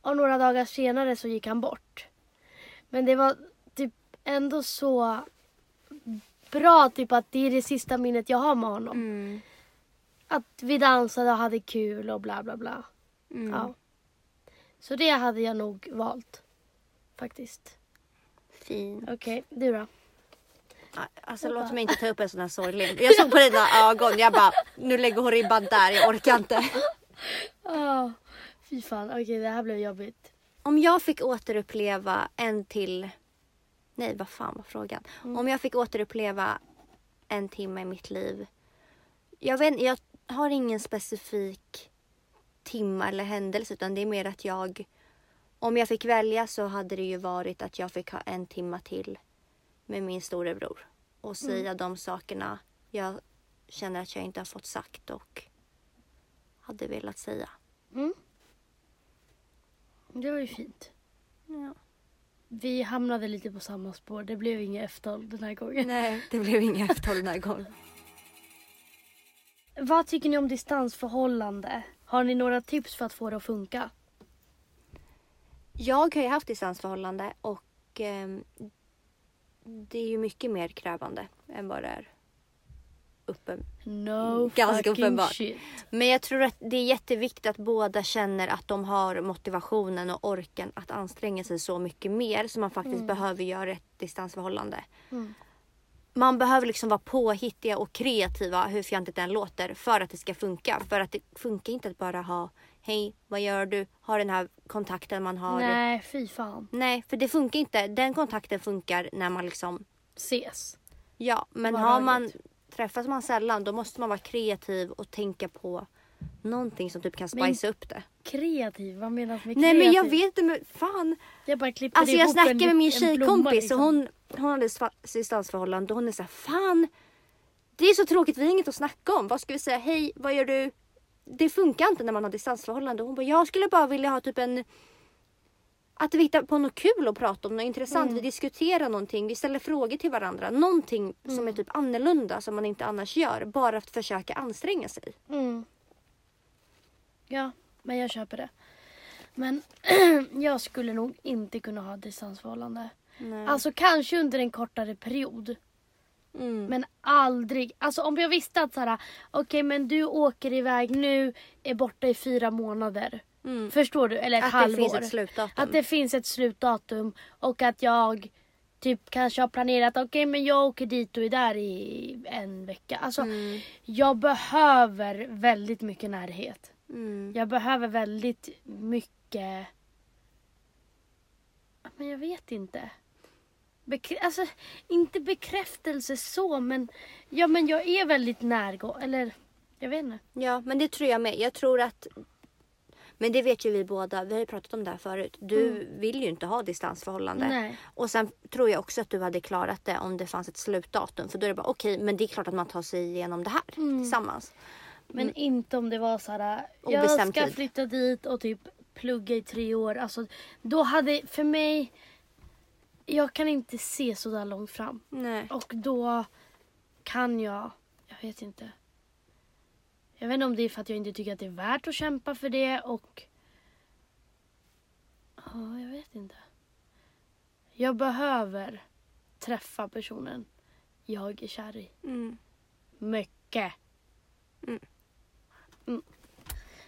Speaker 2: Och några dagar senare så gick han bort. Men det var typ ändå så bra typ att det är det sista minnet jag har med honom.
Speaker 1: Mm.
Speaker 2: Att vi dansade och hade kul och bla bla bla.
Speaker 1: Mm.
Speaker 2: Ja. Så det hade jag nog valt. Faktiskt.
Speaker 1: Fin.
Speaker 2: Okej, du då?
Speaker 1: Ja, Alltså låt mig inte ta upp en sån här sorglig. Jag såg på dina ögon. Jag bara, nu lägger hon ribban där. Jag orkar inte.
Speaker 2: Oh, fy fan, okej det här blev jobbigt.
Speaker 1: Om jag fick återuppleva en till... Nej, vad fan var frågan? Om jag fick återuppleva en timme i mitt liv. Jag, vet, jag har ingen specifik timme eller händelse utan det är mer att jag... Om jag fick välja så hade det ju varit att jag fick ha en timme till med min storebror och säga de sakerna jag känner att jag inte har fått sagt och hade velat säga.
Speaker 2: Mm. Det var ju fint.
Speaker 1: Ja.
Speaker 2: Vi hamnade lite på samma spår. Det blev inget F12 den här gången.
Speaker 1: Nej, det blev inga F12 den här gången.
Speaker 2: Vad tycker ni om distansförhållande? Har ni några tips för att få det att funka?
Speaker 1: Jag har ju haft distansförhållande och ehm, det är ju mycket mer krävande än vad det är uppe.
Speaker 2: No
Speaker 1: Ganska
Speaker 2: fucking
Speaker 1: uppenbart.
Speaker 2: shit.
Speaker 1: Men jag tror att det är jätteviktigt att båda känner att de har motivationen och orken att anstränga sig så mycket mer som man faktiskt behöver göra i ett distansförhållande.
Speaker 2: Mm.
Speaker 1: Man behöver liksom vara påhittiga och kreativa, hur fjantigt den låter, för att det ska funka. För att det funkar inte att bara ha Hej, vad gör du? Ha den här kontakten man har.
Speaker 2: Nej, fy fan.
Speaker 1: Nej, för det funkar inte. Den kontakten funkar när man liksom...
Speaker 2: Ses.
Speaker 1: Ja, men har man... Träffas man sällan då måste man vara kreativ och tänka på någonting som typ kan
Speaker 2: Men-
Speaker 1: spicea upp det.
Speaker 2: Kreativ, vad menas med
Speaker 1: Nej
Speaker 2: kreativ?
Speaker 1: men jag vet inte men fan.
Speaker 2: Jag bara klippte
Speaker 1: Alltså jag
Speaker 2: ihop en-
Speaker 1: snackade med min
Speaker 2: en blomma,
Speaker 1: tjejkompis och
Speaker 2: liksom.
Speaker 1: hon, hon hade sva- distansförhållande och hon är såhär fan. Det är så tråkigt, vi har inget att snacka om. Vad ska vi säga? Hej, vad gör du? Det funkar inte när man har distansförhållande. Hon bara, jag skulle bara vilja ha typ en... Att vi hittar på något kul att prata om, något
Speaker 2: Mm.
Speaker 1: intressant. Vi diskuterar någonting, vi ställer frågor till varandra. Någonting
Speaker 2: Mm.
Speaker 1: som är typ annorlunda som man inte annars gör. Bara att försöka anstränga sig.
Speaker 2: Mm. Ja, men jag köper det. Men jag skulle nog inte kunna ha distansförhållande.
Speaker 1: Nej.
Speaker 2: Alltså kanske under en kortare period.
Speaker 1: Mm.
Speaker 2: Men aldrig. Alltså om jag visste att såhär, okej men du åker iväg nu, är borta i fyra månader.
Speaker 1: Mm.
Speaker 2: Förstår du? Eller ett
Speaker 1: Att det
Speaker 2: halvår.
Speaker 1: finns ett slutdatum.
Speaker 2: Att det finns ett slutdatum och att jag typ kanske har planerat, okej men jag åker dit och är där i en vecka. Alltså
Speaker 1: Mm.
Speaker 2: jag behöver väldigt mycket närhet.
Speaker 1: Mm.
Speaker 2: Jag behöver väldigt mycket... Men jag vet inte. Bekr- alltså, inte bekräftelse så, men... Ja, men jag är väldigt närgå... Eller, jag vet inte.
Speaker 1: Ja, men det tror jag med. Jag tror att... Men det vet ju vi båda. Vi har ju pratat om det här förut. Du vill ju inte ha distansförhållande.
Speaker 2: Nej.
Speaker 1: Och sen tror jag också att du hade klarat det om det fanns ett slutdatum. För då är det bara okej, men det är klart att man tar sig igenom det här tillsammans.
Speaker 2: Men inte om det var så här... Jag
Speaker 1: Mm. Obestämd
Speaker 2: ska
Speaker 1: tid.
Speaker 2: flytta dit och typ plugga i tre år. Alltså, då hade... För mig... Jag kan inte se så där långt fram.
Speaker 1: Nej.
Speaker 2: Och då kan jag... Jag vet inte. Jag vet inte om det är för att jag inte tycker att det är värt att kämpa för det och... Ja, jag vet inte. Jag behöver träffa personen jag är kär i.
Speaker 1: Mm.
Speaker 2: Mycket.
Speaker 1: Mm.
Speaker 2: Mm.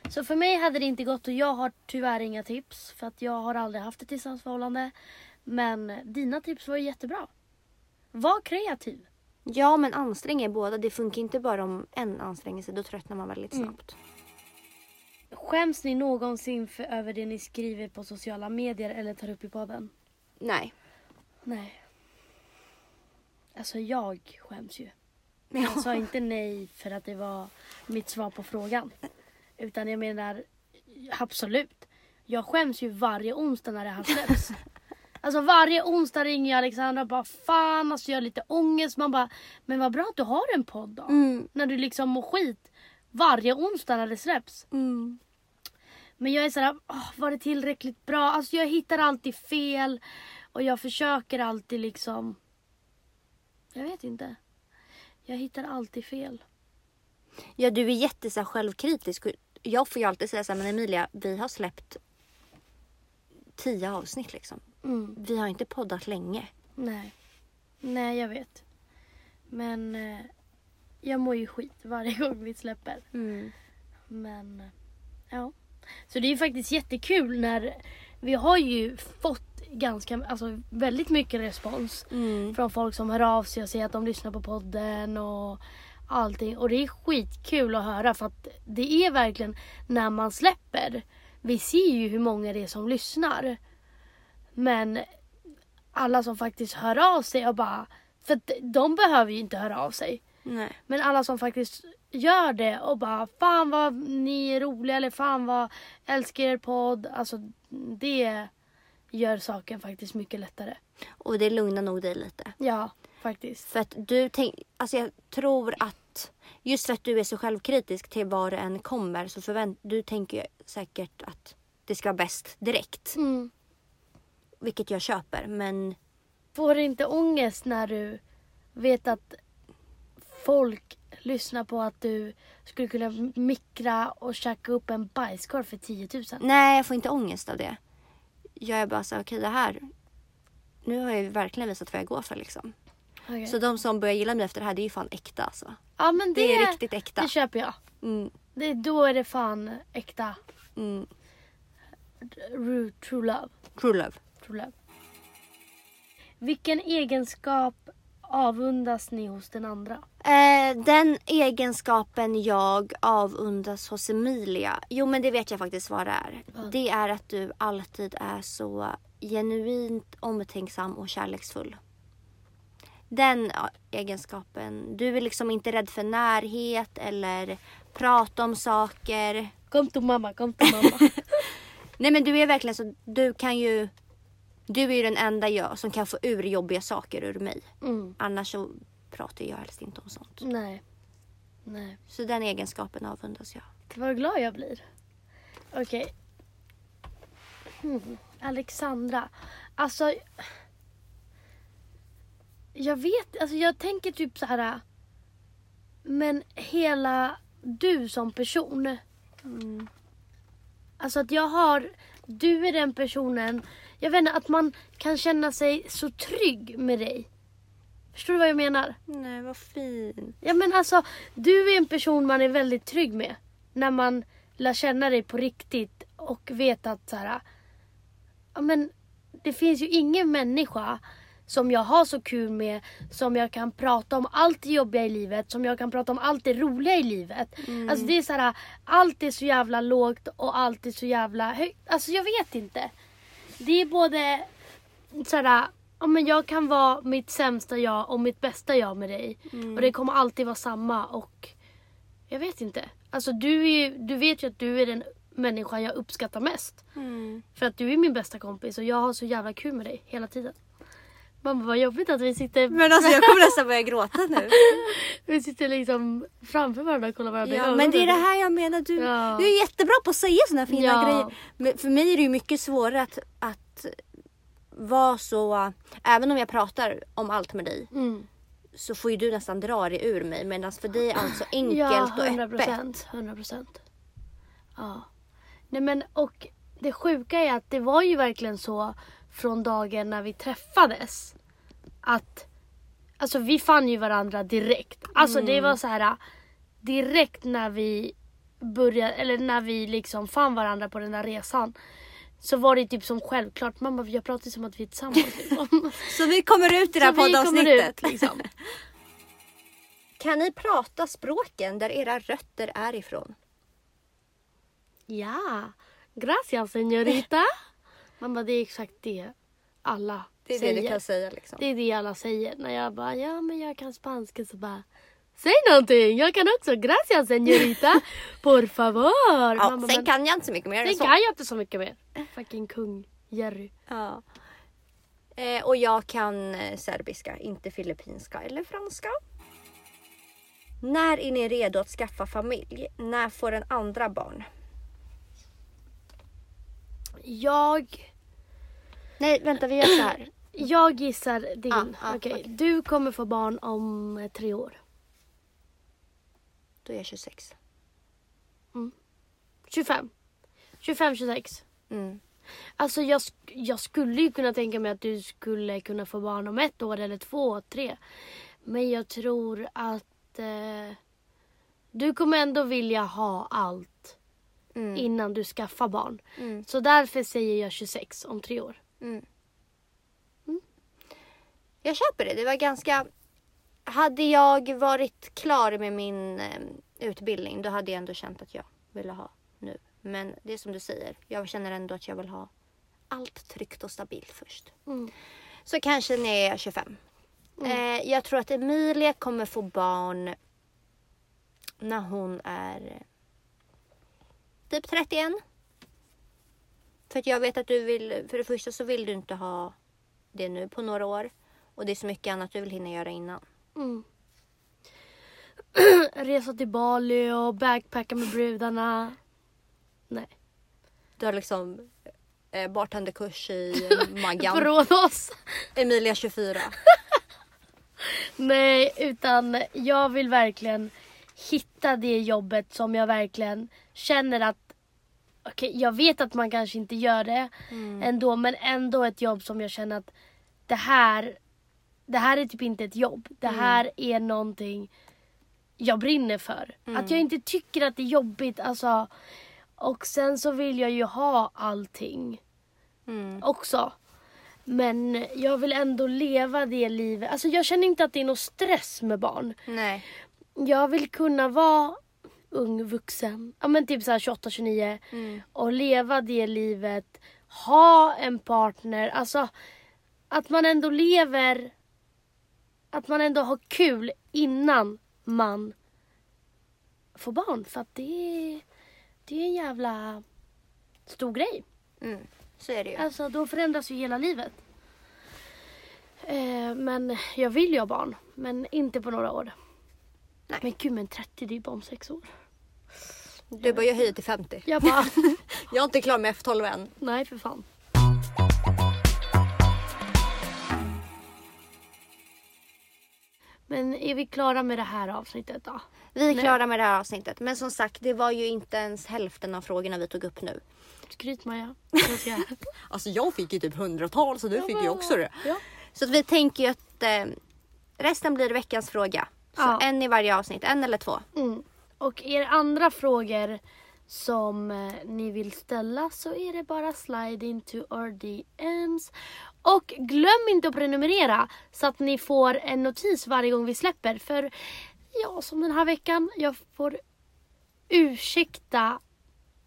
Speaker 2: Så för mig hade det inte gått och jag har tyvärr inga tips för att jag har aldrig haft ett distansförhållande. Men dina tips var ju jättebra. Var kreativ.
Speaker 1: Ja, men ansträng er båda. Det funkar inte bara om en anstränger sig. Då tröttnar man väldigt snabbt.
Speaker 2: Skäms ni någonsin för, över det ni skriver på sociala medier eller tar upp i podden?
Speaker 1: Nej.
Speaker 2: Nej. Alltså jag skäms ju.
Speaker 1: Ja.
Speaker 2: Jag sa inte nej för att det var mitt svar på frågan. Utan jag menar, absolut. Jag skäms ju varje onsdag när det här släpps. Alltså varje onsdag ringer jag Alexandra och bara fan alltså jag har lite ångest. Man bara, men vad bra att du har en podd då.
Speaker 1: Mm.
Speaker 2: När du liksom mår skit. Varje onsdag när det släpps.
Speaker 1: Mm.
Speaker 2: Men jag är såhär, åh, var det tillräckligt bra? Alltså jag hittar alltid fel och jag försöker alltid liksom... Jag vet inte. Jag hittar alltid fel.
Speaker 1: Ja, du är jätte så här, självkritisk. Jag får ju alltid säga så här, men Emilia, vi har släppt tio avsnitt liksom.
Speaker 2: Mm,
Speaker 1: Vi har inte poddat länge.
Speaker 2: nej. Nej, jag vet. Men eh, jag mår ju skit varje gång vi släpper.
Speaker 1: Mm.
Speaker 2: Men eh, ja. Så det är ju faktiskt jättekul när vi har ju fått ganska, alltså väldigt mycket respons
Speaker 1: Mm.
Speaker 2: från folk som hör av sig och säger att de lyssnar på podden och allting. Och det är skitkul att höra för att det är verkligen när man släpper. Vi ser ju hur många det är som lyssnar. Men alla som faktiskt hör av sig och bara... För att de behöver ju inte höra av sig.
Speaker 1: Nej.
Speaker 2: Men alla som faktiskt gör det och bara fan vad ni är roliga eller fan vad älskar er podd. Alltså det gör saken faktiskt mycket lättare.
Speaker 1: Och det lugnar nog dig lite.
Speaker 2: Ja, faktiskt.
Speaker 1: För att du tänk, alltså jag tror att just för att du är så självkritisk till vad det än kommer så förvänt, du tänker ju säkert att det ska vara bäst direkt.
Speaker 2: Mm.
Speaker 1: Vilket jag köper men
Speaker 2: Får du inte ångest när du vet att folk lyssnar på att du skulle kunna mikra och käka upp en bajskorv för 10 000?
Speaker 1: nej jag får inte ångest av det. Jag är bara så här, okej det här. Nu har jag ju verkligen visat vad jag går för liksom.
Speaker 2: Okej.
Speaker 1: Så de som börjar gilla mig efter det här det är ju fan äkta alltså.
Speaker 2: ja, men det,
Speaker 1: Det är riktigt äkta.
Speaker 2: Det köper jag.
Speaker 1: Mm,
Speaker 2: Det, då är det fan äkta
Speaker 1: mm.
Speaker 2: ru- true love.
Speaker 1: True love.
Speaker 2: True love. Vilken egenskap avundas ni hos den andra?
Speaker 1: Eh, den egenskapen jag avundas hos Emilia. Jo men det vet jag faktiskt vad det är.
Speaker 2: Vad?
Speaker 1: Det är att du alltid är så genuint omtänksam och kärleksfull. Den ja, egenskapen. Du är liksom inte rädd för närhet eller prata om saker.
Speaker 2: Kom till mamma, kom till mamma.
Speaker 1: Nej men du är verkligen så, du kan ju... Du är ju den enda jag som kan få ur jobbiga saker ur mig.
Speaker 2: Mm.
Speaker 1: Annars så pratar jag helst inte om sånt.
Speaker 2: Nej. Nej.
Speaker 1: Så den egenskapen avundas jag.
Speaker 2: Vad glad jag blir. Okej. Hmm. Alexandra. Alltså. Jag vet, alltså jag tänker typ så här. Men hela du som person. Alltså att jag har, du är den personen. Jag vet inte, att man kan känna sig så trygg med dig. Förstår du vad jag menar?
Speaker 1: Nej, vad fin.
Speaker 2: Ja men alltså, du är en person man är väldigt trygg med. När man lär känna dig på riktigt och vet att så här, ja men det finns ju ingen människa som jag har så kul med, som jag kan prata om allt det jobbiga i livet, som jag kan prata om allt det roliga i livet. Alltså det är så här, allt är så jävla lågt och allt är så jävla högt. Alltså jag vet inte. Det är både såhär, ja men jag kan vara mitt sämsta jag och mitt bästa jag med dig.
Speaker 1: Mm.
Speaker 2: Och det kommer alltid vara samma och jag vet inte. Alltså du, är, ju- du vet ju att du är den människan jag uppskattar mest. För att du är min bästa kompis och jag har så jävla kul med dig hela tiden. Mamma vad jobbigt att vi sitter,
Speaker 1: Men alltså jag kommer nästan börja gråta nu.
Speaker 2: vi sitter liksom framför varandra och kollar varandra i
Speaker 1: Ja,
Speaker 2: ögonen.
Speaker 1: men det är det här jag menar. Du,
Speaker 2: Ja.
Speaker 1: du är jättebra på att säga sådana fina
Speaker 2: Ja.
Speaker 1: grejer. Men för mig är det ju mycket svårare att, att vara så... Även om jag pratar om allt med dig
Speaker 2: Mm.
Speaker 1: så får ju du nästan dra det ur mig. Medan för dig är allt så enkelt
Speaker 2: Ja,
Speaker 1: och öppet.
Speaker 2: 100 procent. Ja. Nej men och det sjuka är att det var ju verkligen så från dagen när vi träffades. Att alltså vi fann ju varandra direkt. Alltså
Speaker 1: Mm.
Speaker 2: det var så här direkt när vi började, eller när vi liksom fann varandra på den där resan. Så var det typ som självklart, mamma jag pratar ju som att vi är tillsammans. liksom.
Speaker 1: Så vi kommer ut i det här
Speaker 2: Så vi kommer
Speaker 1: poddavsnittet.
Speaker 2: ut liksom.
Speaker 1: Kan ni prata språken där era rötter är ifrån?
Speaker 2: Ja, gracias señorita. Man bara, det är exakt det alla
Speaker 1: Det är
Speaker 2: säger.
Speaker 1: det du kan säga liksom.
Speaker 2: Det är det alla säger. När jag bara, ja men jag kan spanska så bara, säg någonting. Jag kan också gracias señorita. Por favor. Man
Speaker 1: Ja,
Speaker 2: bara,
Speaker 1: sen
Speaker 2: "Men
Speaker 1: kan jag inte så mycket mer än
Speaker 2: sen
Speaker 1: så.
Speaker 2: kan jag inte så mycket mer. Fucking kung Jerry.
Speaker 1: Ja. Eh, och jag kan eh, serbiska, inte filippinska eller franska. När är ni redo att skaffa familj? När får den andra barn?
Speaker 2: Jag,
Speaker 1: Nej, vänta vi gör så här.
Speaker 2: jag gissar din.
Speaker 1: Ja, ja,
Speaker 2: Okej,
Speaker 1: okej.
Speaker 2: Du kommer få barn om eh, tre år.
Speaker 1: Då är jag 26.
Speaker 2: 25. 25, 26.
Speaker 1: Mm.
Speaker 2: Alltså jag, sk- jag skulle ju kunna tänka mig att du skulle kunna få barn om ett år eller två, tre. Men jag tror att eh, du kommer ändå vilja ha allt
Speaker 1: Mm.
Speaker 2: innan du skaffar barn.
Speaker 1: Mm.
Speaker 2: Så därför säger jag 26 om tre år.
Speaker 1: Mm. Jag köper det. Det var ganska... Hade jag varit klar med min eh, utbildning då hade jag ändå känt att jag ville ha nu. Men det är som du säger, jag känner ändå att jag vill ha allt tryggt och stabilt först.
Speaker 2: Mm.
Speaker 1: Så kanske när jag är 25. Eh, jag tror att Emilia kommer få barn när hon är typ 31. För att jag vet att du vill, för det första så vill du inte ha det nu på några år. Och det är så mycket annat du vill hinna göra innan.
Speaker 2: Mm. Resa till Bali och backpacka med brudarna. Nej.
Speaker 1: Du har liksom eh, bartenderkurs i Maggan.
Speaker 2: Borås.
Speaker 1: Emilia 24.
Speaker 2: Nej, utan jag vill verkligen hitta det jobbet som jag verkligen känner att Okej, jag vet att man kanske inte gör det ändå, men ändå ett jobb som jag känner att det här, det här är typ inte ett jobb. Det här är någonting jag brinner för. Att jag inte tycker att det är jobbigt. Alltså, och sen så vill jag ju ha allting
Speaker 1: Mm.
Speaker 2: också. Men jag vill ändå leva det livet. Alltså jag känner inte att det är någon stress med barn.
Speaker 1: Nej.
Speaker 2: Jag vill kunna vara ung vuxen, ja men typ såhär 28-29
Speaker 1: Mm.
Speaker 2: och leva det livet, ha en partner, alltså att man ändå lever, att man ändå har kul innan man får barn för att det är, det är en jävla stor grej.
Speaker 1: Mm. Så är det ju.
Speaker 2: Alltså då förändras ju hela livet. Eh, men jag vill ju ha barn, men inte på några år.
Speaker 1: Nej.
Speaker 2: Men gud, men 30 det är ju bara om sex år.
Speaker 1: Du bara, jag höjer till 50.
Speaker 2: Jag bara,
Speaker 1: Jag är inte klar med F12 än.
Speaker 2: nej för fan. Men är vi klara med det här avsnittet då?
Speaker 1: Vi är klara med det här avsnittet. Men som sagt, det var ju inte ens hälften av frågorna vi tog upp nu.
Speaker 2: Skryt Maja. Jag ska-
Speaker 1: Alltså jag fick ju typ hundratal så du fick ju också det.
Speaker 2: Ja.
Speaker 1: Så att vi tänker ju att eh, resten blir veckans fråga. Så
Speaker 2: Ja.
Speaker 1: en i varje avsnitt, en eller två.
Speaker 2: Mm. Och er andra frågor som eh, ni vill ställa så är det bara slide into our DMs. Och glöm inte att prenumerera så att ni får en notis varje gång vi släpper. För ja, som den här veckan, jag får ursäkta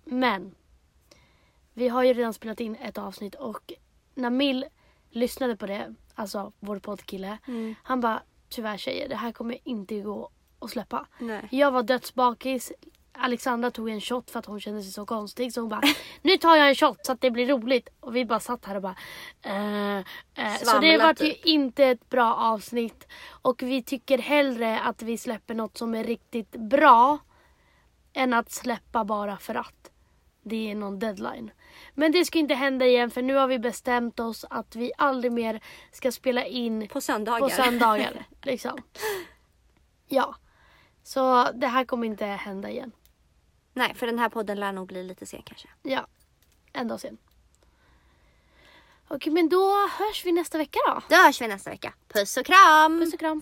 Speaker 2: men vi har ju redan spelat in ett avsnitt och Namil lyssnade på det, alltså vår poddkille.
Speaker 1: Mm.
Speaker 2: Han bara, tyvärr tjejer, det här kommer inte gå att släppa.
Speaker 1: Nej.
Speaker 2: Jag var dödsbakis. Alexandra tog en shot för att hon kände sig så konstig så hon bara nu tar jag en shot så att det blir roligt. Och vi bara satt här och bara eh, eh. Så det
Speaker 1: Svamla,
Speaker 2: var ju
Speaker 1: typ.
Speaker 2: inte ett bra avsnitt. Och vi tycker hellre att vi släpper något som är riktigt bra än att släppa bara för att det är någon deadline. Men det ska inte hända igen för nu har vi bestämt oss att vi aldrig mer ska spela in
Speaker 1: På söndagar.
Speaker 2: på söndagar. liksom. Ja. Så det här kommer inte hända igen.
Speaker 1: Nej, för den här podden lär nog bli lite sen kanske.
Speaker 2: Ja. En dag sen. Okej, men då hörs vi nästa vecka då.
Speaker 1: Då hörs vi nästa vecka. Puss och kram!
Speaker 2: Puss och kram.